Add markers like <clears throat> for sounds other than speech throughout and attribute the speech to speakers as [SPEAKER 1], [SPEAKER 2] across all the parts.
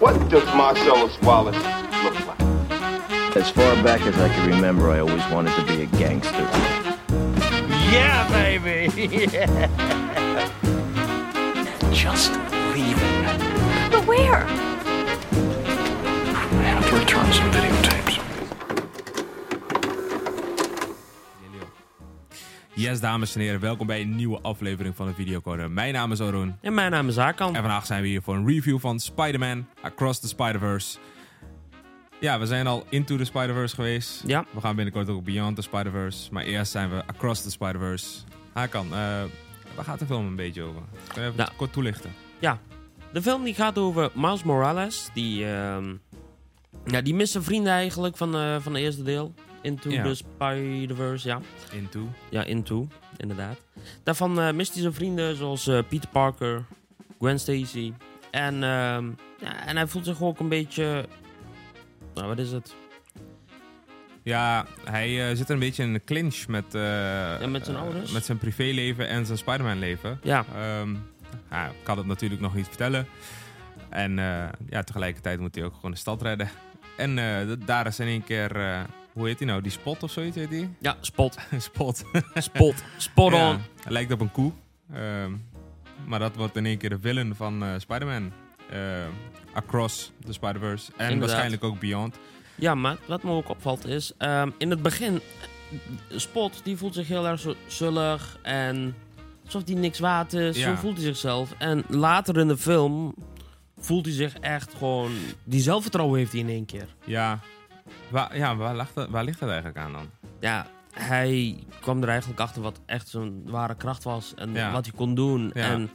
[SPEAKER 1] What does Marcellus Wallace look like?
[SPEAKER 2] As far back as I can remember, I always wanted to be a gangster.
[SPEAKER 3] Yeah, baby! yeah.
[SPEAKER 4] Just leaving.
[SPEAKER 5] But where?
[SPEAKER 4] I have to return some videotapes.
[SPEAKER 6] Yes, dames en heren, welkom bij een nieuwe aflevering van de Videocorner. Mijn naam is Oroen
[SPEAKER 3] En mijn naam is Hakan.
[SPEAKER 6] en vandaag zijn we hier voor een review van Spider-Man Across the Spider-Verse. Ja, we zijn al Into the Spider-Verse geweest.
[SPEAKER 3] Ja.
[SPEAKER 6] We gaan binnenkort ook Beyond the Spider-Verse, maar eerst zijn we Across the Spider-Verse. Hakan, eh, waar gaat de film een beetje over? Kun je even
[SPEAKER 3] Nou.
[SPEAKER 6] kort toelichten?
[SPEAKER 3] Ja, de film die gaat over Miles Morales. Die, ehm ja, die miste vrienden eigenlijk van, eh, van het eerste deel. Into
[SPEAKER 6] Ja.
[SPEAKER 3] the Spider-Verse, ja.
[SPEAKER 6] Into?
[SPEAKER 3] Ja, Into, inderdaad. Daarvan eh mist hij zijn vrienden zoals eh, Peter Parker, Gwen Stacy. En, ehm, ja, en hij voelt zich ook een beetje... Nou, wat is het?
[SPEAKER 6] Ja, hij eh, zit een beetje in een clinch met... eh,
[SPEAKER 3] met zijn
[SPEAKER 6] eh,
[SPEAKER 3] ouders?
[SPEAKER 6] met zijn privéleven en zijn Spider-Man-leven.
[SPEAKER 3] Ja,
[SPEAKER 6] Ehm, ja, ik kan het natuurlijk nog niet vertellen. En eh, ja, tegelijkertijd moet hij ook gewoon de stad redden. En eh, d- daar is in één keer, eh, hoe heet hij nou? Die spot of zoiets heet die? <laughs>
[SPEAKER 3] ja spot,
[SPEAKER 6] spot.
[SPEAKER 3] spot, spot on.
[SPEAKER 6] Ja, hij lijkt op een koe. Ehm, maar dat wordt in één keer de villain van eh, Spider-Man. Ehm, across the Spider-Verse. En
[SPEAKER 3] Inderdaad.
[SPEAKER 6] waarschijnlijk ook Beyond.
[SPEAKER 3] Ja, maar wat me ook opvalt is, ehm, in het begin, eh, Spot die voelt zich heel erg zo- zullig en alsof hij niks waard is.
[SPEAKER 6] Ja.
[SPEAKER 3] Zo voelt hij zichzelf. En later in de film voelt hij zich echt gewoon, die zelfvertrouwen heeft hij in één keer.
[SPEAKER 6] Ja, waar, ja waar, lag dat, waar ligt dat eigenlijk aan dan?
[SPEAKER 3] Ja, hij kwam er eigenlijk achter wat echt zijn ware kracht was en
[SPEAKER 6] Ja.
[SPEAKER 3] wat hij kon doen.
[SPEAKER 6] Ja.
[SPEAKER 3] En,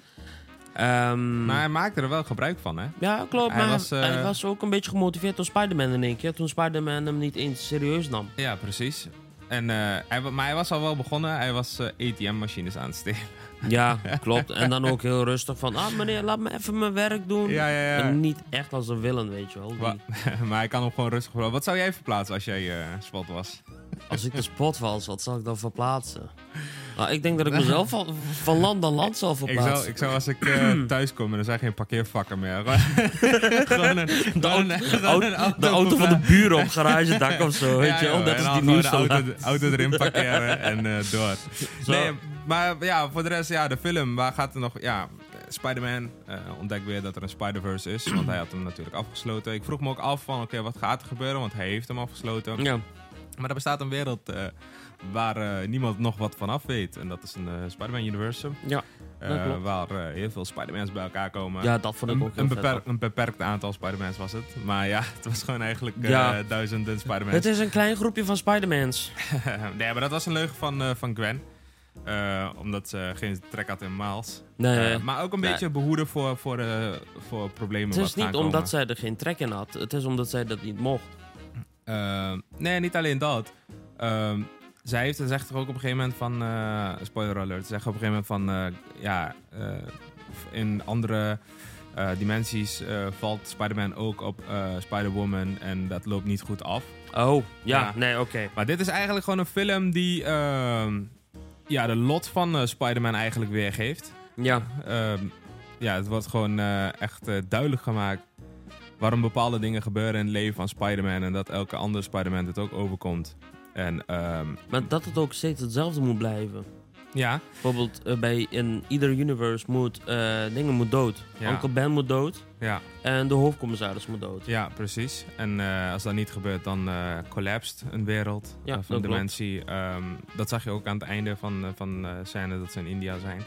[SPEAKER 3] ehm,
[SPEAKER 6] Maar hij maakte er wel gebruik van, hè?
[SPEAKER 3] ja, klopt.
[SPEAKER 6] hij
[SPEAKER 3] maar
[SPEAKER 6] was, eh,
[SPEAKER 3] hij was ook een beetje gemotiveerd door Spider-Man in één keer. Toen Spider-Man hem niet eens serieus nam.
[SPEAKER 6] Ja, precies. En, eh, hij, wa- maar hij was al wel begonnen. Hij was eh, ATM-machines aan het stelen. <laughs>
[SPEAKER 3] Ja, klopt. En dan ook heel rustig van, ah meneer, laat me even mijn werk doen.
[SPEAKER 6] Ja, ja, ja.
[SPEAKER 3] En niet echt als een willen, weet je wel. Die-
[SPEAKER 6] Wa- maar hij kan hem gewoon rustig verplaatsen. Wat zou jij verplaatsen als jij eh, spot was?
[SPEAKER 3] als ik de spot was, wat zal ik dan verplaatsen? Nou, ik denk dat ik
[SPEAKER 6] <laughs>
[SPEAKER 3] mezelf van, van land naar land zal
[SPEAKER 6] Ik zou,
[SPEAKER 3] verplaatsen.
[SPEAKER 6] ik zou als ik
[SPEAKER 3] <clears throat>
[SPEAKER 6] eh thuis kom en er zijn geen parkeervakken meer. Gewoon- <laughs> gewoon een,
[SPEAKER 3] de,
[SPEAKER 6] gewoon een-
[SPEAKER 3] auto,
[SPEAKER 6] gewoon een
[SPEAKER 3] au- de auto van de buren op garagedak of zo,
[SPEAKER 6] <laughs>
[SPEAKER 3] weet
[SPEAKER 6] Ja,
[SPEAKER 3] je wel.
[SPEAKER 6] joh,
[SPEAKER 3] Dat
[SPEAKER 6] en
[SPEAKER 3] is
[SPEAKER 6] dan
[SPEAKER 3] die
[SPEAKER 6] gewoon
[SPEAKER 3] nieuws
[SPEAKER 6] de
[SPEAKER 3] <laughs>
[SPEAKER 6] auto, auto erin parkeren en eh, door. Nee, maar ja, voor de rest, ja, de film. Waar gaat er nog... Ja, Spider-Man eh, ontdekt weer dat er een Spider-Verse is. Want hij had hem natuurlijk afgesloten. Ik vroeg me ook af van, oké, wat gaat er gebeuren? Want hij heeft hem afgesloten.
[SPEAKER 3] Ja,
[SPEAKER 6] Maar er bestaat een wereld eh, waar eh, niemand nog wat van af weet. En dat is een eh, Spider-Man Universum.
[SPEAKER 3] ja.
[SPEAKER 6] Eh,
[SPEAKER 3] Dat klopt.
[SPEAKER 6] waar eh, heel veel Spider-Mans bij elkaar komen.
[SPEAKER 3] ja, dat vond ik
[SPEAKER 6] Een-
[SPEAKER 3] ook heel
[SPEAKER 6] een,
[SPEAKER 3] vet.
[SPEAKER 6] beper- een beperkt aantal Spider-Mans was het. Maar ja, <laughs> het was gewoon eigenlijk eh,
[SPEAKER 3] Ja.
[SPEAKER 6] duizenden Spider-Mans.
[SPEAKER 3] Het is een klein groepje van Spider-Mans.
[SPEAKER 6] <laughs> nee, maar dat was een leugen van, eh, van Gwen. Eh, omdat ze geen trek had in Miles.
[SPEAKER 3] Nee.
[SPEAKER 6] Eh, maar ook een
[SPEAKER 3] Nee.
[SPEAKER 6] beetje behoeden voor, voor, eh, voor problemen
[SPEAKER 3] het is
[SPEAKER 6] wat gaan
[SPEAKER 3] niet omdat
[SPEAKER 6] komen.
[SPEAKER 3] zij er geen trek in had. Het is omdat zij dat niet mocht.
[SPEAKER 6] Ehm, nee, niet alleen dat. Ehm, zij heeft, ze zegt toch ook op een gegeven moment van... eh, spoiler alert. Ze zegt op een gegeven moment van... eh, ja, eh, in andere eh, dimensies eh, valt Spider-Man ook op eh, Spider-Woman. En dat loopt niet goed af.
[SPEAKER 3] Oh, ja,
[SPEAKER 6] Ja.
[SPEAKER 3] nee, oké.
[SPEAKER 6] Maar dit is eigenlijk gewoon een film die... ehm, ja, de lot van eh, Spider-Man eigenlijk weergeeft.
[SPEAKER 3] Ja,
[SPEAKER 6] Ehm, ja, het wordt gewoon eh, echt eh, duidelijk gemaakt waarom bepaalde dingen gebeuren in het leven van Spider-Man en dat elke andere Spider-Man dit ook overkomt. En ehm,
[SPEAKER 3] maar dat het ook steeds hetzelfde moet blijven.
[SPEAKER 6] ja,
[SPEAKER 3] Bijvoorbeeld eh, bij in ieder universe moet eh, dingen moet dood.
[SPEAKER 6] Ja.
[SPEAKER 3] Uncle Ben moet dood
[SPEAKER 6] ja,
[SPEAKER 3] en de hoofdcommissaris moet dood.
[SPEAKER 6] ja, precies. En eh, als dat niet gebeurt, dan eh collapst een wereld
[SPEAKER 3] Ja,
[SPEAKER 6] eh,
[SPEAKER 3] dat
[SPEAKER 6] van
[SPEAKER 3] klopt.
[SPEAKER 6] dimensie. Ehm, dat zag je ook aan het einde van, eh, van eh scène dat ze in India zijn.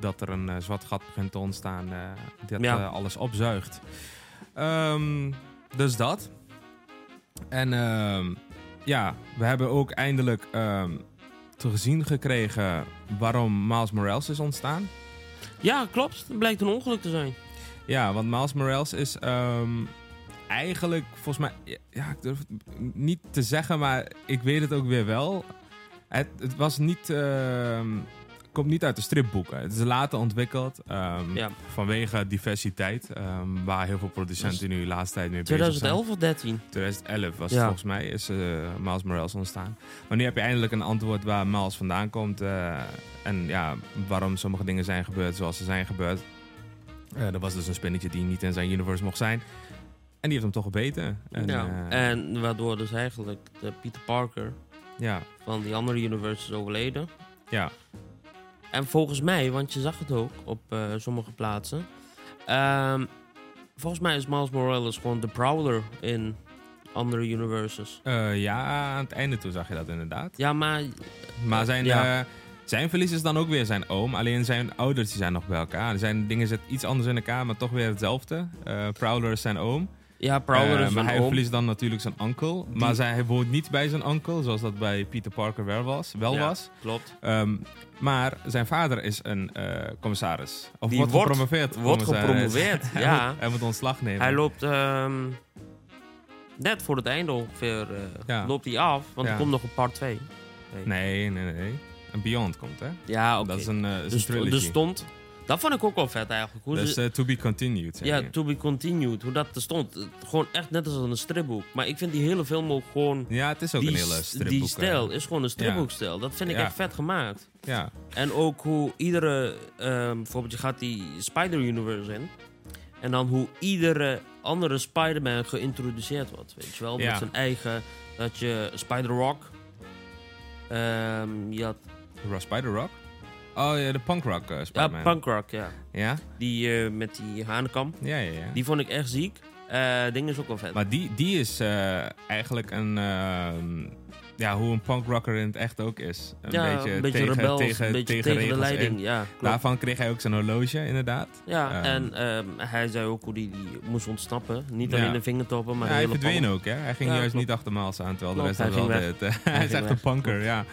[SPEAKER 6] Dat er een eh, zwart gat begint te ontstaan eh, dat
[SPEAKER 3] Ja.
[SPEAKER 6] eh, alles opzuigt. Ehm, dus dat. En ehm, ja, we hebben ook eindelijk ehm, te gezien gekregen waarom Miles Morales is ontstaan.
[SPEAKER 3] Ja, klopt. Het blijkt een ongeluk te zijn.
[SPEAKER 6] Ja, want Miles Morales is ehm, eigenlijk volgens mij... Ja, ik durf het niet te zeggen, maar ik weet het ook weer wel. Het, het was niet... ehm, komt niet uit de stripboeken. Het is later ontwikkeld ehm,
[SPEAKER 3] Ja.
[SPEAKER 6] vanwege diversiteit. ehm, waar heel veel producenten nu de laatste tijd mee bezig zijn.
[SPEAKER 3] 2011 of 13?
[SPEAKER 6] 2011 was
[SPEAKER 3] Ja.
[SPEAKER 6] het volgens mij, is eh Miles Morales ontstaan. Maar nu heb je eindelijk een antwoord waar Miles vandaan komt. eh, en ja, waarom sommige dingen zijn gebeurd zoals ze zijn gebeerd. Eh, er was dus een spinnetje die niet in zijn universe mocht zijn. die heeft hem toch gebeten. En,
[SPEAKER 3] ja.
[SPEAKER 6] eh,
[SPEAKER 3] en waardoor dus eigenlijk de Peter Parker
[SPEAKER 6] ja,
[SPEAKER 3] van die andere universe is overleden.
[SPEAKER 6] ja.
[SPEAKER 3] En volgens mij, want je zag het ook op eh, sommige plaatsen. ehm, volgens mij is Miles Morales gewoon de Prowler in andere universes.
[SPEAKER 6] Eh, ja, aan het einde toe zag je dat inderdaad.
[SPEAKER 3] Ja, maar
[SPEAKER 6] Maar zijn,
[SPEAKER 3] Ja.
[SPEAKER 6] eh, zijn verlies is dan ook weer zijn oom. Alleen zijn ouders die zijn nog bij elkaar. Zijn dingen zitten iets anders in elkaar, maar toch weer hetzelfde. Eh, Prowler is zijn oom.
[SPEAKER 3] ja, Prowler
[SPEAKER 6] Eh,
[SPEAKER 3] is
[SPEAKER 6] maar
[SPEAKER 3] een
[SPEAKER 6] hij
[SPEAKER 3] oom.
[SPEAKER 6] verliest dan natuurlijk zijn onkel. Maar zij, hij woont niet bij zijn onkel, zoals dat bij Peter Parker wel was. Wel
[SPEAKER 3] Ja,
[SPEAKER 6] was.
[SPEAKER 3] Klopt.
[SPEAKER 6] Ehm, maar zijn vader is een eh, commissaris. Of
[SPEAKER 3] Die
[SPEAKER 6] wordt
[SPEAKER 3] wordt-
[SPEAKER 6] gepromoveerd.
[SPEAKER 3] wordt
[SPEAKER 6] commissaris.
[SPEAKER 3] gepromoveerd,
[SPEAKER 6] eh, <laughs> hij
[SPEAKER 3] ja.
[SPEAKER 6] Moet, hij moet ontslag nemen.
[SPEAKER 3] Hij loopt ehm, net voor het einde ongeveer eh,
[SPEAKER 6] Ja.
[SPEAKER 3] loopt hij af, want
[SPEAKER 6] Ja.
[SPEAKER 3] er komt nog een part 2.
[SPEAKER 6] Nee, nee, nee. Een Beyond komt, hè?
[SPEAKER 3] Ja, oké.
[SPEAKER 6] Dat is een, eh, is een
[SPEAKER 3] Dus,
[SPEAKER 6] trilogy.
[SPEAKER 3] dus stond... Dat vond ik ook wel vet eigenlijk. Hoe
[SPEAKER 6] Dus
[SPEAKER 3] ze-
[SPEAKER 6] eh, to be continued. zeg
[SPEAKER 3] Ja,
[SPEAKER 6] je.
[SPEAKER 3] to be continued. Hoe dat er stond. Het- Gewoon echt net als een stripboek. Maar ik vind die hele film ook gewoon...
[SPEAKER 6] ja, het is ook een
[SPEAKER 3] die,
[SPEAKER 6] hele
[SPEAKER 3] s-
[SPEAKER 6] stripboek. eh.
[SPEAKER 3] die
[SPEAKER 6] hè.
[SPEAKER 3] stijl is gewoon een stripboekstijl. Dat vind ik
[SPEAKER 6] Ja.
[SPEAKER 3] echt vet gemaakt.
[SPEAKER 6] Ja,
[SPEAKER 3] En ook hoe iedere... ehm, bijvoorbeeld je gaat die Spider-Universe in. En dan hoe iedere andere Spider-Man geïntroduceerd wordt. Weet je wel?
[SPEAKER 6] Ja.
[SPEAKER 3] Met zijn eigen... Dat je Spider-Rock... ehm, je had,
[SPEAKER 6] Ro- Spider Rock. Oh ja, de punk rock eh,
[SPEAKER 3] ja,
[SPEAKER 6] Spider-Man.
[SPEAKER 3] Punk Rock, ja.
[SPEAKER 6] Ja?
[SPEAKER 3] Die eh, met die hanenkam.
[SPEAKER 6] Ja, ja, ja.
[SPEAKER 3] Die vond ik echt ziek. Eh ding is ook wel vet.
[SPEAKER 6] Maar die, die is eh, eigenlijk een. ehm, ja, hoe een punkrocker in het echt ook is. Een
[SPEAKER 3] ja,
[SPEAKER 6] beetje,
[SPEAKER 3] een beetje
[SPEAKER 6] tegen,
[SPEAKER 3] rebels,
[SPEAKER 6] tegen,
[SPEAKER 3] een beetje tegen,
[SPEAKER 6] tegen
[SPEAKER 3] de
[SPEAKER 6] regels in.
[SPEAKER 3] leiding. Ja, klopt.
[SPEAKER 6] Daarvan kreeg hij ook zijn horloge, inderdaad.
[SPEAKER 3] ja,
[SPEAKER 6] ehm,
[SPEAKER 3] en ehm, hij zei ook hoe die, die moest ontsnappen. Niet
[SPEAKER 6] Ja.
[SPEAKER 3] alleen de vingertoppen, maar
[SPEAKER 6] Ja,
[SPEAKER 3] de
[SPEAKER 6] hij
[SPEAKER 3] hele
[SPEAKER 6] verdween
[SPEAKER 3] palm.
[SPEAKER 6] ook, hè? Hij ging
[SPEAKER 3] Ja,
[SPEAKER 6] juist
[SPEAKER 3] klopt.
[SPEAKER 6] niet achter Miles aan, terwijl
[SPEAKER 3] Klopt,
[SPEAKER 6] de rest
[SPEAKER 3] hij
[SPEAKER 6] dat wel
[SPEAKER 3] ging
[SPEAKER 6] deed. <laughs> hij is
[SPEAKER 3] ging
[SPEAKER 6] echt een
[SPEAKER 3] weg.
[SPEAKER 6] punker, ja.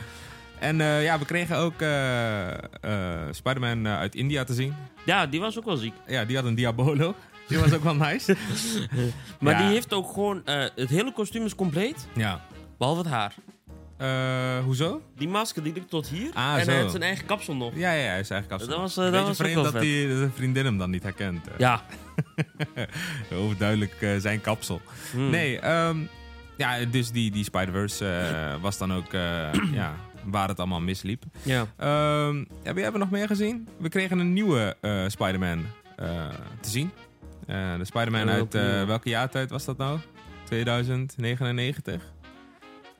[SPEAKER 6] En eh, ja, we kregen ook eh, eh, Spider-Man eh, uit India te zien.
[SPEAKER 3] Ja, die was ook wel ziek.
[SPEAKER 6] Ja, die had een Diabolo. Die was
[SPEAKER 3] <laughs>
[SPEAKER 6] ook wel nice.
[SPEAKER 3] Maar
[SPEAKER 6] Ja.
[SPEAKER 3] die heeft ook gewoon... eh, het hele kostuum is compleet,
[SPEAKER 6] Ja.
[SPEAKER 3] behalve het haar.
[SPEAKER 6] Eh, hoezo?
[SPEAKER 3] Die masker die liep tot hier.
[SPEAKER 6] Ah,
[SPEAKER 3] en
[SPEAKER 6] zo.
[SPEAKER 3] hij heeft zijn eigen kapsel nog.
[SPEAKER 6] Ja, ja, hij is eigenlijk afstand.
[SPEAKER 3] Dat was, eh, dat
[SPEAKER 6] Beetje
[SPEAKER 3] was ook
[SPEAKER 6] vreemd
[SPEAKER 3] wel
[SPEAKER 6] dat,
[SPEAKER 3] vet.
[SPEAKER 6] die, dat de vriendin hem dan niet herkent. eh.
[SPEAKER 3] Ja,
[SPEAKER 6] Overduidelijk eh, zijn kapsel.
[SPEAKER 3] Hmm.
[SPEAKER 6] Nee, ehm, ja, dus die, die Spider-Verse eh, was dan ook
[SPEAKER 3] <clears throat>
[SPEAKER 6] eh, ja, waar het allemaal misliep.
[SPEAKER 3] ja.
[SPEAKER 6] Ehm, ja, we hebben nog meer gezien. We kregen een nieuwe eh, Spider-Man eh, te zien. Eh, de Spider-Man
[SPEAKER 3] Welke
[SPEAKER 6] uit eh,
[SPEAKER 3] nieuwe?
[SPEAKER 6] welke jaartijd was dat nou? 2099.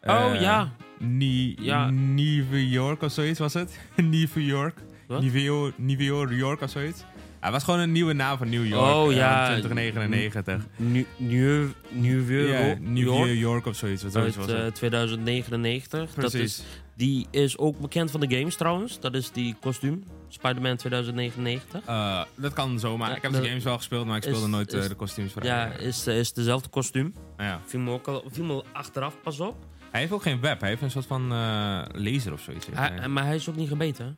[SPEAKER 3] Oh,
[SPEAKER 6] Eh,
[SPEAKER 3] ja.
[SPEAKER 6] Nie-
[SPEAKER 3] Ja.
[SPEAKER 6] New York of zoiets was het. <laughs> New York.
[SPEAKER 3] Wat?
[SPEAKER 6] New York, New York of zoiets. Hij was gewoon een nieuwe naam van New York.
[SPEAKER 3] Oh,
[SPEAKER 6] eh,
[SPEAKER 3] ja.
[SPEAKER 6] 2099.
[SPEAKER 3] Nu, nu, nu
[SPEAKER 6] Ja,
[SPEAKER 3] weer
[SPEAKER 6] New
[SPEAKER 3] York.
[SPEAKER 6] York. of zoiets. Wat zoiets
[SPEAKER 3] Uit
[SPEAKER 6] was
[SPEAKER 3] eh,
[SPEAKER 6] het.
[SPEAKER 3] 2099. Dat
[SPEAKER 6] Precies.
[SPEAKER 3] is, die is ook bekend van de games trouwens. Dat is die kostuum. Spider-Man 2099.
[SPEAKER 6] Eh, dat kan zomaar.
[SPEAKER 3] Ja,
[SPEAKER 6] ik heb de
[SPEAKER 3] dat-
[SPEAKER 6] games wel gespeeld, maar ik speelde
[SPEAKER 3] is-
[SPEAKER 6] nooit eh,
[SPEAKER 3] is-
[SPEAKER 6] de kostuums van.
[SPEAKER 3] Ja, is, eh, is dezelfde kostuum.
[SPEAKER 6] ja.
[SPEAKER 3] Viel me, ook al, viel me achteraf pas op.
[SPEAKER 6] Hij heeft ook geen web, hij heeft een soort van eh, laser of zoiets. heeft
[SPEAKER 3] Hij,
[SPEAKER 6] hij.
[SPEAKER 3] Maar hij is ook niet gebeten.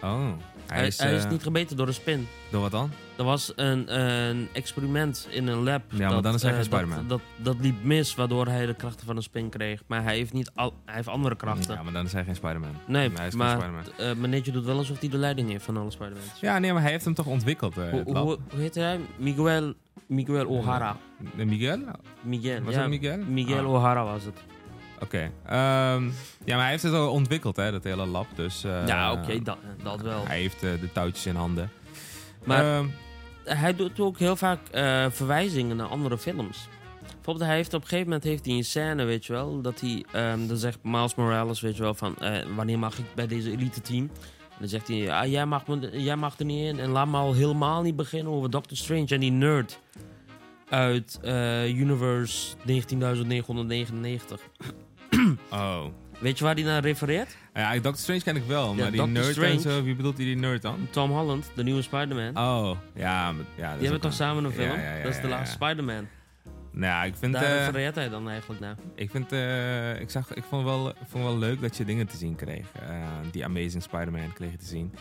[SPEAKER 3] hè?
[SPEAKER 6] oh,
[SPEAKER 3] Hij, hij, is,
[SPEAKER 6] eh,
[SPEAKER 3] niet gebeten door een spin.
[SPEAKER 6] Door wat dan?
[SPEAKER 3] Er was een, een experiment in een lab.
[SPEAKER 6] Ja, maar dan is hij geen
[SPEAKER 3] eh,
[SPEAKER 6] Spider-Man.
[SPEAKER 3] Dat, dat, dat liep mis, waardoor hij de krachten van een spin kreeg. Maar hij heeft, niet al, hij heeft andere krachten.
[SPEAKER 6] Ja, maar dan is hij geen Spider-Man.
[SPEAKER 3] nee,
[SPEAKER 6] hij is geen
[SPEAKER 3] maar
[SPEAKER 6] Spider-Man.
[SPEAKER 3] eh, meneertje doet wel alsof hij de leiding heeft van alle Spider-Mans.
[SPEAKER 6] Ja, nee, maar hij heeft hem toch ontwikkeld. eh,
[SPEAKER 3] Hoe,
[SPEAKER 6] het lab.
[SPEAKER 3] hoe, hoe heet hij? Miguel, Miguel O'Hara.
[SPEAKER 6] Eh, Miguel? Oké.
[SPEAKER 3] Miguel.
[SPEAKER 6] Was
[SPEAKER 3] ja,
[SPEAKER 6] het Miguel?
[SPEAKER 3] Miguel
[SPEAKER 6] Ah.
[SPEAKER 3] O'Hara was het.
[SPEAKER 6] ehm, ja, maar hij heeft het al ontwikkeld, hè, dat hele lab. Dus, eh,
[SPEAKER 3] ja, oké, dat, dat wel.
[SPEAKER 6] Hij heeft eh, de touwtjes in handen.
[SPEAKER 3] Maar-
[SPEAKER 6] Ehm,
[SPEAKER 3] hij doet ook heel vaak eh, verwijzingen naar andere films. Bijvoorbeeld, hij heeft op een gegeven moment heeft hij een scène, weet je wel, dat hij, ehm, dan zegt Miles Morales, weet je wel, van eh, wanneer mag ik bij deze elite team? En dan zegt hij, ah, jij, mag me, jij mag er niet in en laat me al helemaal niet beginnen over Doctor Strange en die nerd uit eh, Universe 19.999.
[SPEAKER 6] oh.
[SPEAKER 3] Weet je waar hij naar refereert?
[SPEAKER 6] Ja, Doctor Strange ken ik wel, maar die
[SPEAKER 3] Doctor
[SPEAKER 6] nerd en
[SPEAKER 3] Strange.
[SPEAKER 6] zo, wie bedoelt hij die nerd dan?
[SPEAKER 3] Tom Holland, de nieuwe Spider-Man.
[SPEAKER 6] Oh, ja. maar- ja
[SPEAKER 3] die hebben toch samen een film? dat is de laatste
[SPEAKER 6] Spider-Man.
[SPEAKER 3] Spider-Man.
[SPEAKER 6] Nou, ik vind...
[SPEAKER 3] Daar
[SPEAKER 6] eh,
[SPEAKER 3] refereert hij dan eigenlijk naar.
[SPEAKER 6] Ik, vind, eh, ik, zag, ik vond wel, ik vond wel leuk dat je dingen te zien kreeg. Eh, die Amazing Spider-Man kreeg je te zien.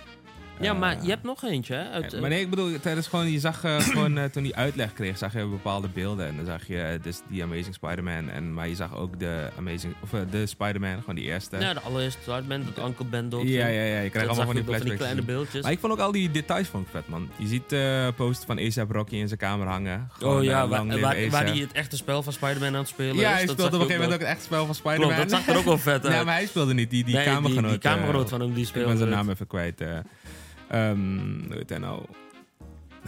[SPEAKER 3] Ja,
[SPEAKER 6] Eh,
[SPEAKER 3] maar je hebt nog eentje, hè? Uit,
[SPEAKER 6] eh, Maar nee, ik bedoel, tijdens gewoon, je zag
[SPEAKER 3] <clears throat>
[SPEAKER 6] eh, gewoon eh, toen die uitleg kreeg, zag je bepaalde beelden. En dan zag je eh, dus die Amazing Spider-Man. En, maar je zag ook de Amazing, of eh, de Spider-Man, gewoon die eerste.
[SPEAKER 3] Ja, de allereerste Spider-Man, dat Uncle Ben dood
[SPEAKER 6] ja,
[SPEAKER 3] ging.
[SPEAKER 6] ja, ja, je
[SPEAKER 3] Dat
[SPEAKER 6] krijgt allemaal
[SPEAKER 3] zag
[SPEAKER 6] van
[SPEAKER 3] je
[SPEAKER 6] die
[SPEAKER 3] ook
[SPEAKER 6] flashbacks. te
[SPEAKER 3] kleine
[SPEAKER 6] zien.
[SPEAKER 3] beeldjes.
[SPEAKER 6] Maar ik vond ook al die details vond ik vet, man. Je ziet eh posts van ASAP Rocky in zijn kamer hangen. Gewoon,
[SPEAKER 3] oh ja,
[SPEAKER 6] eh,
[SPEAKER 3] waar,
[SPEAKER 6] lang
[SPEAKER 3] waar,
[SPEAKER 6] leven A$AP.
[SPEAKER 3] waar die het echte spel van Spider-Man aan het spelen is.
[SPEAKER 6] Ja, hij
[SPEAKER 3] dat
[SPEAKER 6] speelde op een
[SPEAKER 3] zag je
[SPEAKER 6] gegeven moment ook
[SPEAKER 3] wel.
[SPEAKER 6] het echt spel van Spider-Man.
[SPEAKER 3] Klopt, dat zag
[SPEAKER 6] <laughs>
[SPEAKER 3] er ook wel vet uit.
[SPEAKER 6] Ja, maar hij speelde niet. Die, die
[SPEAKER 3] Nee,
[SPEAKER 6] kamergenoot.
[SPEAKER 3] Die, die
[SPEAKER 6] eh,
[SPEAKER 3] kamergenoot van hem, die
[SPEAKER 6] Ik
[SPEAKER 3] speelde
[SPEAKER 6] ben zijn
[SPEAKER 3] het.
[SPEAKER 6] naam even kwijt. eh. Ehm, hoe heet hij nou?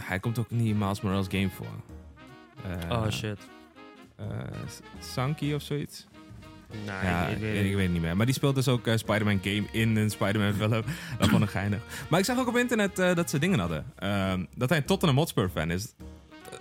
[SPEAKER 6] Hij komt ook niet in Miles Morales game voor. eh,
[SPEAKER 3] Oh shit.
[SPEAKER 6] eh, S- Sankey of zoiets.
[SPEAKER 3] Nou,
[SPEAKER 6] ja,
[SPEAKER 3] ik, ik weet
[SPEAKER 6] ik,
[SPEAKER 3] het
[SPEAKER 6] ik weet het niet meer. Maar die speelt dus ook eh, Spider-Man game in een Spider-Man
[SPEAKER 3] <laughs>
[SPEAKER 6] film. Dat vond ik geinig. Maar ik zag ook op internet eh, dat ze dingen hadden. Ehm, dat hij een Tottenham Hotspur fan is.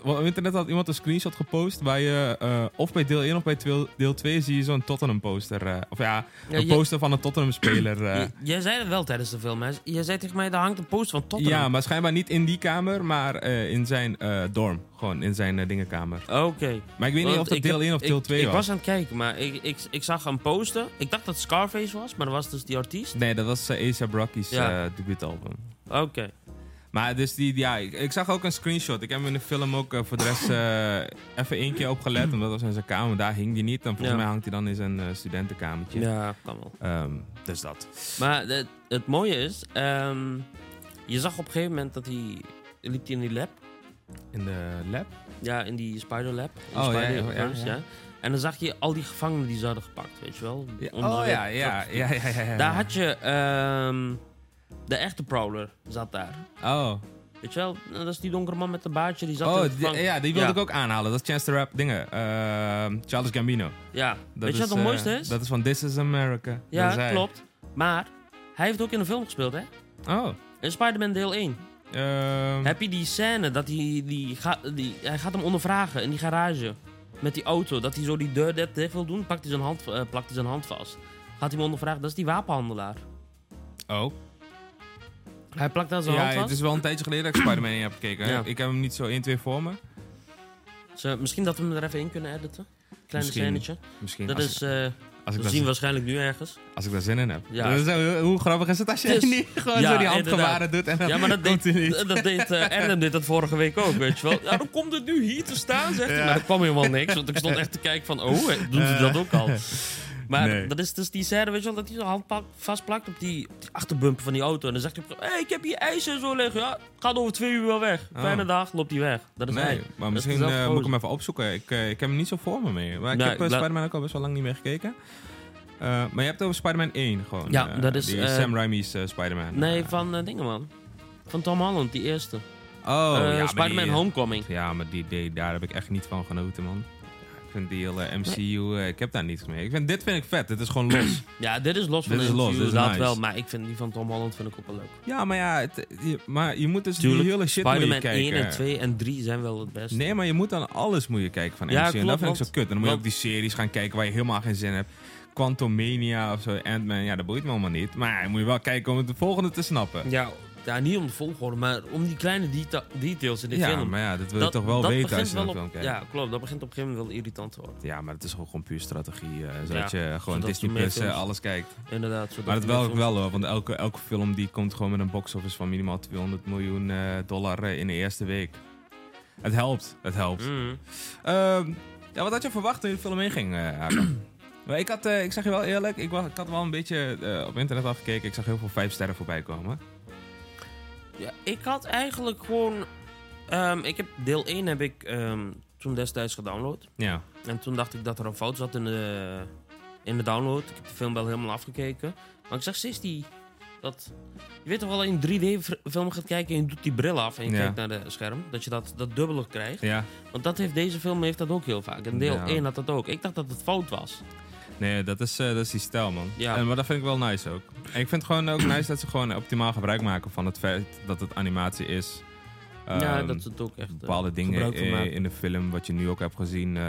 [SPEAKER 6] Want op internet had iemand een screenshot gepost waar je eh, of bij deel 1 of bij twil- deel 2 zie je zo'n Tottenham poster. eh, of ja,
[SPEAKER 3] Ja,
[SPEAKER 6] een
[SPEAKER 3] je-
[SPEAKER 6] poster van een Tottenham speler.
[SPEAKER 3] <clears throat>
[SPEAKER 6] eh.
[SPEAKER 3] J- Jij zei dat wel tijdens de film. Hè? Jij zei tegen mij, daar hangt een post van Tottenham.
[SPEAKER 6] ja, maar schijnbaar niet in die kamer, maar eh, in zijn eh, dorm. Gewoon in zijn eh, dingenkamer.
[SPEAKER 3] Oké.
[SPEAKER 6] Maar ik weet niet of dat deel 1 of deel 2
[SPEAKER 3] ik,
[SPEAKER 6] was.
[SPEAKER 3] Ik was aan het kijken, maar ik, ik, ik zag een poster. Ik dacht dat Scarface was, maar dat was dus die artiest.
[SPEAKER 6] Nee, dat was eh, A$AP Rocky's
[SPEAKER 3] Ja.
[SPEAKER 6] eh, debuutalbum.
[SPEAKER 3] Oké.
[SPEAKER 6] Maar dus die, ja, ik, ik zag ook een screenshot. Ik heb hem in de film ook eh, voor de rest eh, even één keer
[SPEAKER 3] <clears throat>
[SPEAKER 6] opgelet. Omdat dat was in zijn kamer. Daar hing die niet. En volgens
[SPEAKER 3] Ja.
[SPEAKER 6] mij hangt hij dan in zijn eh, studentenkamertje.
[SPEAKER 3] Ja, kan wel.
[SPEAKER 6] Ehm, dus dat.
[SPEAKER 3] Maar het, het mooie is, ehm, je zag op een gegeven moment dat hij... Liep hij in die lab?
[SPEAKER 6] In de lab?
[SPEAKER 3] Ja, in die Spider Lab. In
[SPEAKER 6] Oh,
[SPEAKER 3] Spider
[SPEAKER 6] ja, ja, ja,
[SPEAKER 3] Arms,
[SPEAKER 6] ja.
[SPEAKER 3] En dan zag je al die gevangenen die ze hadden gepakt, weet je wel? Om
[SPEAKER 6] oh
[SPEAKER 3] de-
[SPEAKER 6] ja, ja, ja, ja, ja, ja.
[SPEAKER 3] Daar had je... ehm, de echte Prowler zat daar.
[SPEAKER 6] Oh,
[SPEAKER 3] Weet je wel, Nou, dat is die donkere man met de baardje, die zat
[SPEAKER 6] oh
[SPEAKER 3] in de
[SPEAKER 6] die-
[SPEAKER 3] gevangen-
[SPEAKER 6] ja, die wilde ik ook aanhalen. Dat is Chance the Rap dingen. Ehm, Charles Gambino.
[SPEAKER 3] Ja,
[SPEAKER 6] Dat
[SPEAKER 3] weet je wat
[SPEAKER 6] is,
[SPEAKER 3] het
[SPEAKER 6] eh,
[SPEAKER 3] mooiste is?
[SPEAKER 6] Dat is van This is America. Dat
[SPEAKER 3] ja,
[SPEAKER 6] is hij.
[SPEAKER 3] klopt. Maar hij heeft ook in een film gespeeld, hè?
[SPEAKER 6] Oh.
[SPEAKER 3] In Spider-Man deel 1.
[SPEAKER 6] ehm,
[SPEAKER 3] Heb je die scène dat hij, die ga- die, hij gaat hem ondervragen in die garage. Met die auto, dat hij zo die deur dat dicht wil doen, pakt hij zijn hand, eh, plakt hij zijn hand vast. Gaat hij hem ondervragen, dat is die wapenhandelaar.
[SPEAKER 6] oh.
[SPEAKER 3] Hij plakt daar zijn
[SPEAKER 6] Ja,
[SPEAKER 3] hand vast.
[SPEAKER 6] het is wel een tijdje geleden dat ik Spider-Man 1 heb gekeken. hè.
[SPEAKER 3] Ja.
[SPEAKER 6] Ik heb hem niet zo 1, 2 voor me.
[SPEAKER 3] Zo, misschien dat we hem er even in kunnen editen. Klein
[SPEAKER 6] Misschien.
[SPEAKER 3] scènetje.
[SPEAKER 6] Misschien.
[SPEAKER 3] Dat
[SPEAKER 6] als,
[SPEAKER 3] is, eh,
[SPEAKER 6] als ik
[SPEAKER 3] we
[SPEAKER 6] dat
[SPEAKER 3] zien waarschijnlijk nu ergens.
[SPEAKER 6] Als ik daar zin in heb.
[SPEAKER 3] Ja.
[SPEAKER 6] Dat is, hoe, hoe grappig is het als je
[SPEAKER 3] Dus-
[SPEAKER 6] niet gewoon
[SPEAKER 3] Ja,
[SPEAKER 6] zo die handgebaren
[SPEAKER 3] inderdaad.
[SPEAKER 6] doet en dan
[SPEAKER 3] Ja, maar dat
[SPEAKER 6] komt
[SPEAKER 3] deed,
[SPEAKER 6] hij niet.
[SPEAKER 3] dat deed
[SPEAKER 6] <laughs>
[SPEAKER 3] eh, Adam deed dat vorige week ook, weet je wel. Ja, dan komt het nu hier te staan, zegt hij. Maar er kwam helemaal niks, want ik stond echt te kijken van... Oh, hè, doen ze dat ook
[SPEAKER 6] <laughs>
[SPEAKER 3] al? Maar
[SPEAKER 6] Nee.
[SPEAKER 3] dat is dus die scène, weet je wel, dat hij zijn hand pak- vastplakt op die, die achterbumper van die auto. En dan zegt hij, op een gegeven moment, hey, ik heb hier ijs en zo liggen. Ja, het gaat over twee uur wel weg.
[SPEAKER 6] Oh.
[SPEAKER 3] Fijne dag, loopt hij weg. Dat is hij.
[SPEAKER 6] Nee,
[SPEAKER 3] Dat
[SPEAKER 6] maar
[SPEAKER 3] is
[SPEAKER 6] misschien
[SPEAKER 3] dezelfde
[SPEAKER 6] eh, moet ik
[SPEAKER 3] gozer.
[SPEAKER 6] hem even opzoeken. Ik, eh, ik heb hem niet zo voor me meer. Maar ik
[SPEAKER 3] Nee,
[SPEAKER 6] heb eh,
[SPEAKER 3] laat-
[SPEAKER 6] Spider-Man ook al best wel lang niet meer gekeken. Eh, maar je hebt het over Spider-Man 1 gewoon.
[SPEAKER 3] Ja,
[SPEAKER 6] eh,
[SPEAKER 3] dat is,
[SPEAKER 6] Die
[SPEAKER 3] eh,
[SPEAKER 6] Sam Raimi's eh, Spider-Man.
[SPEAKER 3] Nee,
[SPEAKER 6] Eh,
[SPEAKER 3] van eh, dingen, man. Van Tom Holland, die eerste.
[SPEAKER 6] oh,
[SPEAKER 3] Eh,
[SPEAKER 6] ja, maar
[SPEAKER 3] Spider-Man
[SPEAKER 6] die-
[SPEAKER 3] Homecoming.
[SPEAKER 6] Ja, maar die, die, daar heb ik echt niet van genoten, man. Ja, Ik vind die hele MCU... eh, ik heb daar niets mee. Ik vind, dit vind ik vet. Dit is gewoon
[SPEAKER 3] <clears throat>
[SPEAKER 6] los.
[SPEAKER 3] Ja, dit is los van
[SPEAKER 6] Dit
[SPEAKER 3] de
[SPEAKER 6] is los,
[SPEAKER 3] interview,
[SPEAKER 6] dit is
[SPEAKER 3] dat
[SPEAKER 6] nice.
[SPEAKER 3] wel. Maar ik vind die van Tom Holland vind ik ook wel leuk.
[SPEAKER 6] ja, maar ja... het- je, maar je moet dus die hele
[SPEAKER 3] Tuurlijk,
[SPEAKER 6] shit moet je
[SPEAKER 3] Spider-Man
[SPEAKER 6] kijken.
[SPEAKER 3] 1 en 2 en 3 zijn wel het beste.
[SPEAKER 6] Nee, maar je moet dan alles moet je kijken van MCU.
[SPEAKER 3] Ja,
[SPEAKER 6] en dat
[SPEAKER 3] klopt,
[SPEAKER 6] vind ik zo
[SPEAKER 3] want-
[SPEAKER 6] kut. En dan moet je
[SPEAKER 3] want-
[SPEAKER 6] ook die series gaan kijken waar je helemaal geen zin in hebt. Quantumania of zo, Ant-Man. Ja, dat boeit me allemaal niet. Maar ja, je moet je wel kijken om het de volgende te snappen.
[SPEAKER 3] Ja, ja, niet om de volgorde, maar om die kleine deta- details in de
[SPEAKER 6] Ja,
[SPEAKER 3] film.
[SPEAKER 6] maar ja, dat wil je toch wel weten als
[SPEAKER 3] begint
[SPEAKER 6] je naar
[SPEAKER 3] wel
[SPEAKER 6] een film
[SPEAKER 3] op-
[SPEAKER 6] kijkt. Ja.
[SPEAKER 3] Ja, klopt. Dat begint op een gegeven moment wel irritant te worden.
[SPEAKER 6] maar het is gewoon, gewoon puur strategie. eh, zodat
[SPEAKER 3] Ja,
[SPEAKER 6] je gewoon
[SPEAKER 3] zodat
[SPEAKER 6] Disney
[SPEAKER 3] je meer
[SPEAKER 6] Plus eh,
[SPEAKER 3] films-
[SPEAKER 6] alles kijkt.
[SPEAKER 3] Inderdaad. zodat
[SPEAKER 6] Maar dat
[SPEAKER 3] je
[SPEAKER 6] wel
[SPEAKER 3] met-
[SPEAKER 6] wel hoor. Want elke, elke film die komt gewoon met een box-office van minimaal 200 miljoen eh, dollar eh, in de eerste week. Het helpt, het helpt.
[SPEAKER 3] Mm.
[SPEAKER 6] Ehm, ja, wat had je verwacht toen je de film inging, eh, Hakan?
[SPEAKER 3] <clears throat>
[SPEAKER 6] Maar ik, had, eh, ik zeg je wel eerlijk, ik, wa- ik had wel een beetje eh, op internet afgekeken. Ik zag heel veel vijf sterren voorbij komen.
[SPEAKER 3] Ja, ik had eigenlijk gewoon... ehm, ik heb deel 1 heb ik ehm, toen destijds gedownload.
[SPEAKER 6] Ja.
[SPEAKER 3] En toen dacht ik dat er een fout zat in de, in de download. Ik heb de film wel helemaal afgekeken. Maar ik zag steeds die... Dat, je weet toch wel, in 3D-film gaat kijken en je doet die bril af en je
[SPEAKER 6] Ja.
[SPEAKER 3] kijkt naar de scherm. Dat je dat, dat dubbelig krijgt.
[SPEAKER 6] ja.
[SPEAKER 3] Want dat heeft, deze film heeft dat ook heel vaak. En deel
[SPEAKER 6] Ja.
[SPEAKER 3] 1 had dat ook. Ik dacht dat het fout was.
[SPEAKER 6] Nee, dat is, eh, dat is die stijl, man.
[SPEAKER 3] Ja.
[SPEAKER 6] En, maar dat vind ik wel nice ook. En ik vind het gewoon ook <clears throat> nice dat ze gewoon optimaal gebruik maken van het feit dat het animatie is.
[SPEAKER 3] ja,
[SPEAKER 6] Ehm,
[SPEAKER 3] dat is het ook echt. eh,
[SPEAKER 6] bepaalde dingen
[SPEAKER 3] gebruik van
[SPEAKER 6] in,
[SPEAKER 3] maken.
[SPEAKER 6] in de film, wat je nu ook hebt gezien, eh,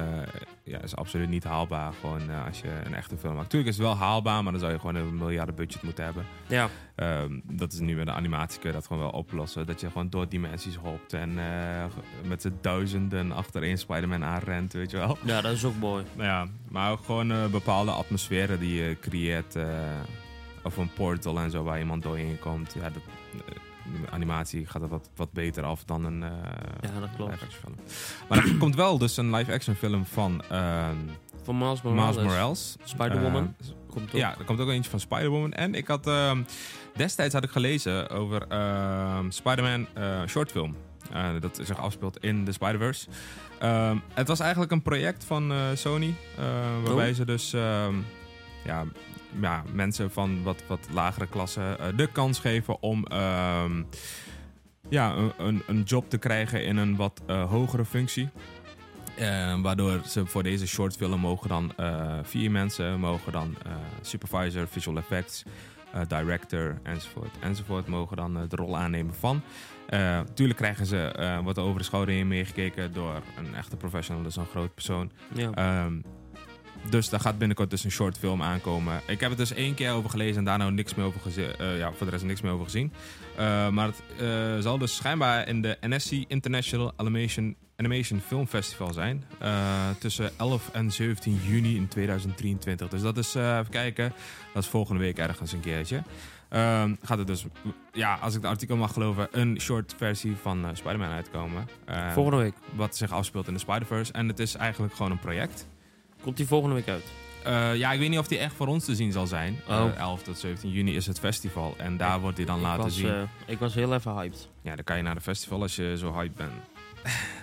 [SPEAKER 6] ja, is absoluut niet haalbaar. Gewoon eh, als je een echte film maakt. Tuurlijk is het wel haalbaar, maar dan zou je gewoon een miljarden budget moeten hebben.
[SPEAKER 3] Ja,
[SPEAKER 6] Ehm, dat is nu met de animatie kun je dat gewoon wel oplossen. Dat je gewoon door dimensies hopt en eh, met z'n duizenden achtereen Spider-Man aanrent, weet je wel.
[SPEAKER 3] ja, dat is ook mooi.
[SPEAKER 6] Nou ja, maar ook gewoon eh, bepaalde atmosferen die je creëert. eh, of een portal en zo waar iemand doorheen komt. Ja, dat, eh, de animatie gaat er wat, wat beter af dan een eh,
[SPEAKER 3] Ja, dat klopt.
[SPEAKER 6] live-action film. Maar er komt wel dus een live-action film van ehm
[SPEAKER 3] Van Miles Morales.
[SPEAKER 6] Miles Morales.
[SPEAKER 3] Spider-Woman.
[SPEAKER 6] Eh,
[SPEAKER 3] Komt ook.
[SPEAKER 6] ja, er komt ook eentje van Spider-Woman. En ik had ehm, destijds had ik gelezen over ehm Spider-Man eh, shortfilm. Eh, dat zich afspeelt in de Spider-Verse. Ehm, het was eigenlijk een project van eh, Sony. eh, waarbij
[SPEAKER 3] Oh.
[SPEAKER 6] ze dus ehm, ja, ja, mensen van wat, wat lagere klassen eh, de kans geven om ehm, ja, een- een, een job te krijgen in een wat eh, hogere functie. Eh, waardoor ze voor deze shortfilm mogen dan eh, vier mensen, mogen dan eh, supervisor, visual effects, eh, director enzovoort enzovoort, mogen dan eh, de rol aannemen van. Eh tuurlijk krijgen ze eh, wat over de schouder heen meegekeken door een echte professional, dus een groot persoon.
[SPEAKER 3] Ja.
[SPEAKER 6] Ehm, dus daar gaat binnenkort dus een shortfilm aankomen. Ik heb het dus één keer over gelezen en daar nou niks meer over gezien. ja, voor de rest niks meer over gezien. Eh, maar het eh, zal dus schijnbaar in de NSC International Animation, Animation Film Festival zijn. Eh, tussen 11 en 17 juni in 2023. Dus dat is, eh, even kijken, dat is volgende week ergens een keertje. Ehm, gaat er dus, ja, als ik het artikel mag geloven, een short versie van eh, Spider-Man uitkomen. Eh,
[SPEAKER 3] volgende week.
[SPEAKER 6] Wat zich afspeelt in de Spider-Verse. En het is eigenlijk gewoon een project.
[SPEAKER 3] Komt die volgende week uit?
[SPEAKER 6] Eh, ja, ik weet niet of die echt voor ons te zien zal zijn. Eh,
[SPEAKER 3] Oh.
[SPEAKER 6] 11 tot 17 juni is het festival. En daar wordt die dan
[SPEAKER 3] Ik
[SPEAKER 6] laten
[SPEAKER 3] was,
[SPEAKER 6] zien.
[SPEAKER 3] eh, ik was heel even hyped.
[SPEAKER 6] Ja, dan kan je naar de festival als je zo hyped bent.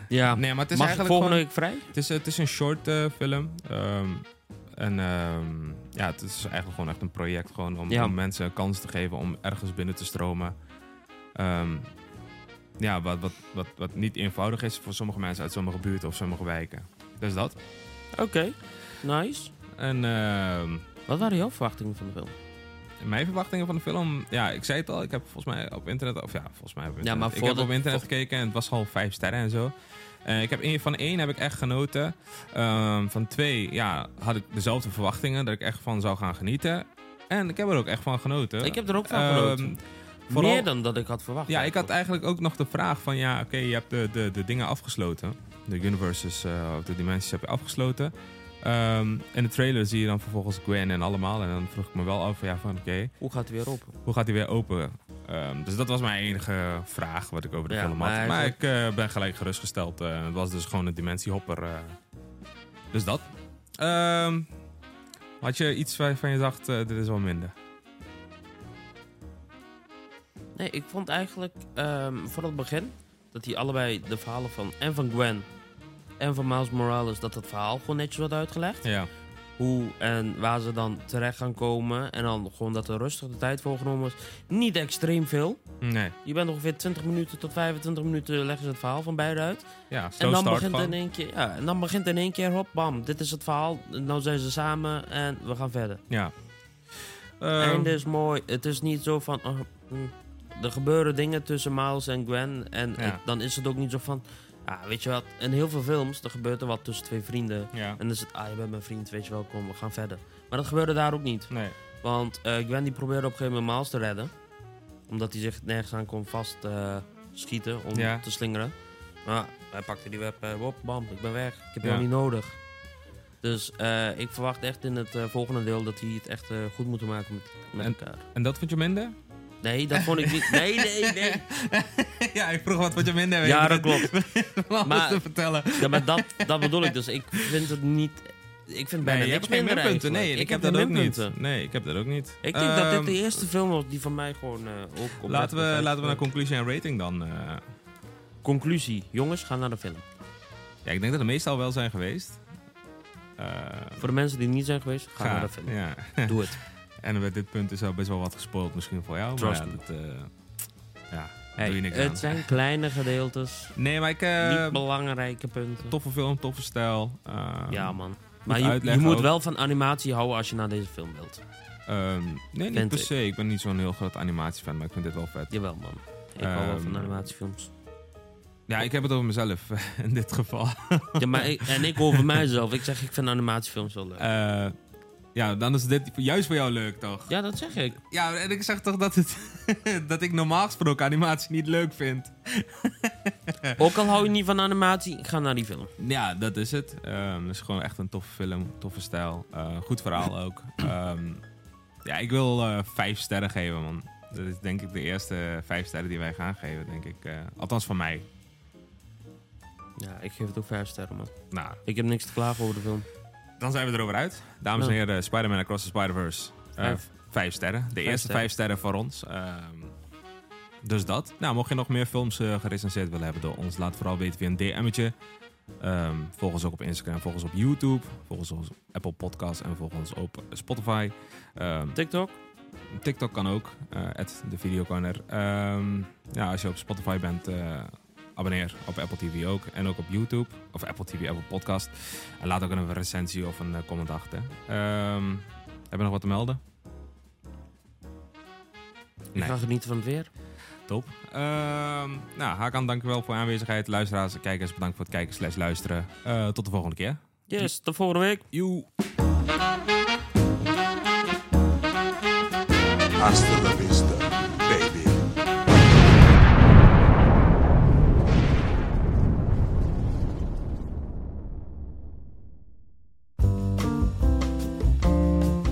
[SPEAKER 3] Ja.
[SPEAKER 6] Nee, maar het is
[SPEAKER 3] Mag
[SPEAKER 6] eigenlijk
[SPEAKER 3] ik volgende
[SPEAKER 6] gewoon-
[SPEAKER 3] week vrij?
[SPEAKER 6] Het is, het is een short eh, film. Ehm, en ehm, ja, het is eigenlijk gewoon echt een project. Gewoon om,
[SPEAKER 3] Ja.
[SPEAKER 6] om mensen een kans te geven om ergens binnen te stromen. Ehm, ja, wat, wat, wat, wat niet eenvoudig is voor sommige mensen uit sommige buurten of sommige wijken. Dus dat.
[SPEAKER 3] Oké. Nice.
[SPEAKER 6] En ehm,
[SPEAKER 3] Wat waren jouw verwachtingen van de film?
[SPEAKER 6] Mijn verwachtingen van de film, ja, ik zei het al, ik heb volgens mij op internet, of ja, volgens mij op internet,
[SPEAKER 3] maar
[SPEAKER 6] ik
[SPEAKER 3] voor
[SPEAKER 6] heb
[SPEAKER 3] de-
[SPEAKER 6] op internet
[SPEAKER 3] voor-
[SPEAKER 6] gekeken en het was al vijf sterren en zo. Eh, ik heb één- van één heb ik echt genoten. Ehm, van twee, ja, had ik dezelfde verwachtingen dat ik echt van zou gaan genieten. En ik heb er ook echt van genoten.
[SPEAKER 3] Ik heb er ook van
[SPEAKER 6] Ehm,
[SPEAKER 3] genoten.
[SPEAKER 6] vooral-
[SPEAKER 3] Meer dan dat ik had verwacht.
[SPEAKER 6] ja, ik had eigenlijk ook nog de vraag van ja, oké, je hebt de, de, de dingen afgesloten. De universes, eh, of de dimensies heb je afgesloten. Ehm, in de trailer zie je dan vervolgens Gwen en allemaal. En dan vroeg ik me wel af, ja, van oké,
[SPEAKER 3] Hoe gaat het weer op?
[SPEAKER 6] hoe gaat hij weer open? Ehm, dus dat was mijn enige vraag wat ik over de
[SPEAKER 3] Ja,
[SPEAKER 6] film had.
[SPEAKER 3] maar
[SPEAKER 6] Maar,
[SPEAKER 3] eigenlijk-
[SPEAKER 6] ik eh, ben gelijk gerustgesteld. Eh, het was dus gewoon een dimensiehopper. eh. Dus dat. Ehm, had je iets waarvan je dacht, eh, dit is wel minder?
[SPEAKER 3] Nee, ik vond eigenlijk ehm voor het begin dat die allebei de verhalen van en van Gwen en van Miles Morales dat het verhaal gewoon netjes wordt uitgelegd.
[SPEAKER 6] Ja.
[SPEAKER 3] Hoe en waar ze dan terecht gaan komen en dan gewoon dat er rustig de tijd voor genomen is. Niet extreem veel.
[SPEAKER 6] Nee.
[SPEAKER 3] Je bent ongeveer 20 minuten tot 25 minuten leggen ze het verhaal van beide uit.
[SPEAKER 6] Ja, slow
[SPEAKER 3] En dan,
[SPEAKER 6] start
[SPEAKER 3] begint
[SPEAKER 6] gewoon.
[SPEAKER 3] in één keer, ja, en dan begint in één keer, hop, bam, dit is het verhaal. Nou zijn ze samen en we gaan verder.
[SPEAKER 6] Ja.
[SPEAKER 3] Het
[SPEAKER 6] Ehm,
[SPEAKER 3] einde is mooi. Het is niet zo van. oh, mm. er gebeuren dingen tussen Miles en Gwen. En
[SPEAKER 6] Ja.
[SPEAKER 3] het- dan is het ook niet zo van. Ah, weet je wat? In heel veel films er gebeurt er wat tussen twee vrienden.
[SPEAKER 6] ja.
[SPEAKER 3] En dan is het, ah, je bent mijn vriend, weet je wel, kom, we gaan verder. Maar dat gebeurde daar ook niet.
[SPEAKER 6] Nee.
[SPEAKER 3] Want eh, Gwen die probeerde op een gegeven moment Miles te redden. Omdat hij zich nergens aan kon vastschieten schieten om
[SPEAKER 6] Ja.
[SPEAKER 3] te slingeren. Maar hij pakte die web eh, op, bam, ik ben weg. Ik heb
[SPEAKER 6] Ja.
[SPEAKER 3] jou niet nodig. Dus eh, ik verwacht echt in het eh, volgende deel dat hij het echt eh, goed moet maken met, met
[SPEAKER 6] En-
[SPEAKER 3] elkaar.
[SPEAKER 6] En dat vond je minder?
[SPEAKER 3] Nee, dat vond ik niet. Nee, nee, nee.
[SPEAKER 6] <laughs> ja, ik vroeg wat vond je minder. weet
[SPEAKER 3] Ja,
[SPEAKER 6] je
[SPEAKER 3] dat
[SPEAKER 6] niet <laughs>
[SPEAKER 3] klopt.
[SPEAKER 6] om alles
[SPEAKER 3] Maar-
[SPEAKER 6] te vertellen.
[SPEAKER 3] Ja, maar dat, dat bedoel ik dus. Ik vind het niet. Ik vind bijna
[SPEAKER 6] Nee, je hebt
[SPEAKER 3] niks
[SPEAKER 6] geen
[SPEAKER 3] minder
[SPEAKER 6] minpunten. Nee, ik,
[SPEAKER 3] eigenlijk.
[SPEAKER 6] heb
[SPEAKER 3] geen
[SPEAKER 6] dat ook
[SPEAKER 3] minpunten.
[SPEAKER 6] niet. Nee, ik heb dat ook niet.
[SPEAKER 3] Ik denk dat dit
[SPEAKER 6] Ehm,
[SPEAKER 3] de eerste film was die van mij gewoon eh, ook op
[SPEAKER 6] Laten we,
[SPEAKER 3] Netflix
[SPEAKER 6] laten we naar
[SPEAKER 3] uitkomt.
[SPEAKER 6] conclusie en rating dan. eh.
[SPEAKER 3] Conclusie. Jongens, ga naar de film.
[SPEAKER 6] Ja, ik denk dat er meestal wel zijn geweest. Eh,
[SPEAKER 3] Voor de mensen die niet zijn geweest, ga, naar de film.
[SPEAKER 6] Ja. <laughs>
[SPEAKER 3] Doe het.
[SPEAKER 6] en bij dit punt is al best wel wat gespoild misschien voor jou.
[SPEAKER 3] Trust
[SPEAKER 6] maar ja, dat,
[SPEAKER 3] me.
[SPEAKER 6] eh, ja,
[SPEAKER 3] Hey,
[SPEAKER 6] doe je niks
[SPEAKER 3] het
[SPEAKER 6] aan.
[SPEAKER 3] zijn kleine gedeeltes.
[SPEAKER 6] Nee, maar ik... eh,
[SPEAKER 3] niet belangrijke punten.
[SPEAKER 6] toffe film, toffe stijl. eh,
[SPEAKER 3] Ja, man. Maar je, je
[SPEAKER 6] uitleggen
[SPEAKER 3] moet
[SPEAKER 6] ook.
[SPEAKER 3] wel van animatie houden als je naar deze film wilt.
[SPEAKER 6] ehm, nee, niet
[SPEAKER 3] Vind
[SPEAKER 6] per
[SPEAKER 3] ik.
[SPEAKER 6] se. Ik ben niet zo'n heel groot animatiefan, maar ik vind dit wel vet.
[SPEAKER 3] Jawel, man. Ik hou wel
[SPEAKER 6] Ehm.
[SPEAKER 3] van animatiefilms.
[SPEAKER 6] Ja, ik heb het over mezelf <laughs> in dit geval.
[SPEAKER 3] Ja, maar ik- en
[SPEAKER 6] <laughs>
[SPEAKER 3] ik over mijzelf. Ik zeg, ik vind animatiefilms wel leuk.
[SPEAKER 6] Eh, ja, dan is dit juist voor jou leuk, toch?
[SPEAKER 3] Ja, dat zeg ik.
[SPEAKER 6] Ja, en ik zeg toch dat, het, <laughs> dat ik normaal gesproken animatie niet leuk vind. Eh.
[SPEAKER 3] Ook al hou je niet van animatie, ik ga naar die film.
[SPEAKER 6] Ja, dat is het. Ehm, het is gewoon echt een toffe film, toffe stijl. Eh, goed <clears throat> verhaal ook. Ehm, ja, ik wil eh, vijf sterren geven, man. Dat is denk ik de eerste eh, vijf sterren die wij gaan geven, denk ik. Eh, althans van mij.
[SPEAKER 3] Ja, ik geef het ook vijf sterren, man.
[SPEAKER 6] Nou,
[SPEAKER 3] Ik heb niks te klagen over de film.
[SPEAKER 6] dan zijn we erover uit. Dames en
[SPEAKER 3] Nou.
[SPEAKER 6] heren, Spider-Man Across the Spider-Verse. Eh,
[SPEAKER 3] Vijf.
[SPEAKER 6] vijf sterren. De eerste
[SPEAKER 3] sterren.
[SPEAKER 6] vijf sterren voor ons. Ehm, dus dat. Nou, mocht je nog meer films eh, gerecenseerd willen hebben door ons, laat vooral weten via een DM'tje. Ehm volg ons ook op Instagram, volg ons op YouTube, volg ons op Apple Podcasts en volg ons op Spotify. Ehm,
[SPEAKER 3] TikTok?
[SPEAKER 6] TikTok kan ook, eh at de Videocorner. Ehm ja, als je op Spotify bent, eh, abonneer op Apple TV ook. En ook op YouTube. Of Apple TV, Apple Podcast. En laat ook een recensie of een eh, comment achter. Ehm hebben we nog wat te melden?
[SPEAKER 3] Ik ga genieten van het weer.
[SPEAKER 6] Top. Ehm nou, Hakan, dankjewel voor je aanwezigheid. Luisteraars en kijkers, bedankt voor het kijken slash luisteren. Eh, tot de volgende keer.
[SPEAKER 3] Yes, tot volgende week.
[SPEAKER 6] Joe.
[SPEAKER 5] Hasta la vista, baby.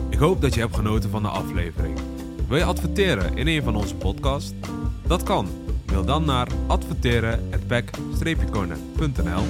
[SPEAKER 6] Ik hoop dat je hebt genoten van de aflevering. Wil je adverteren in een van onze podcasts? Dat kan. Mail dan naar adverteren@back-corner.nl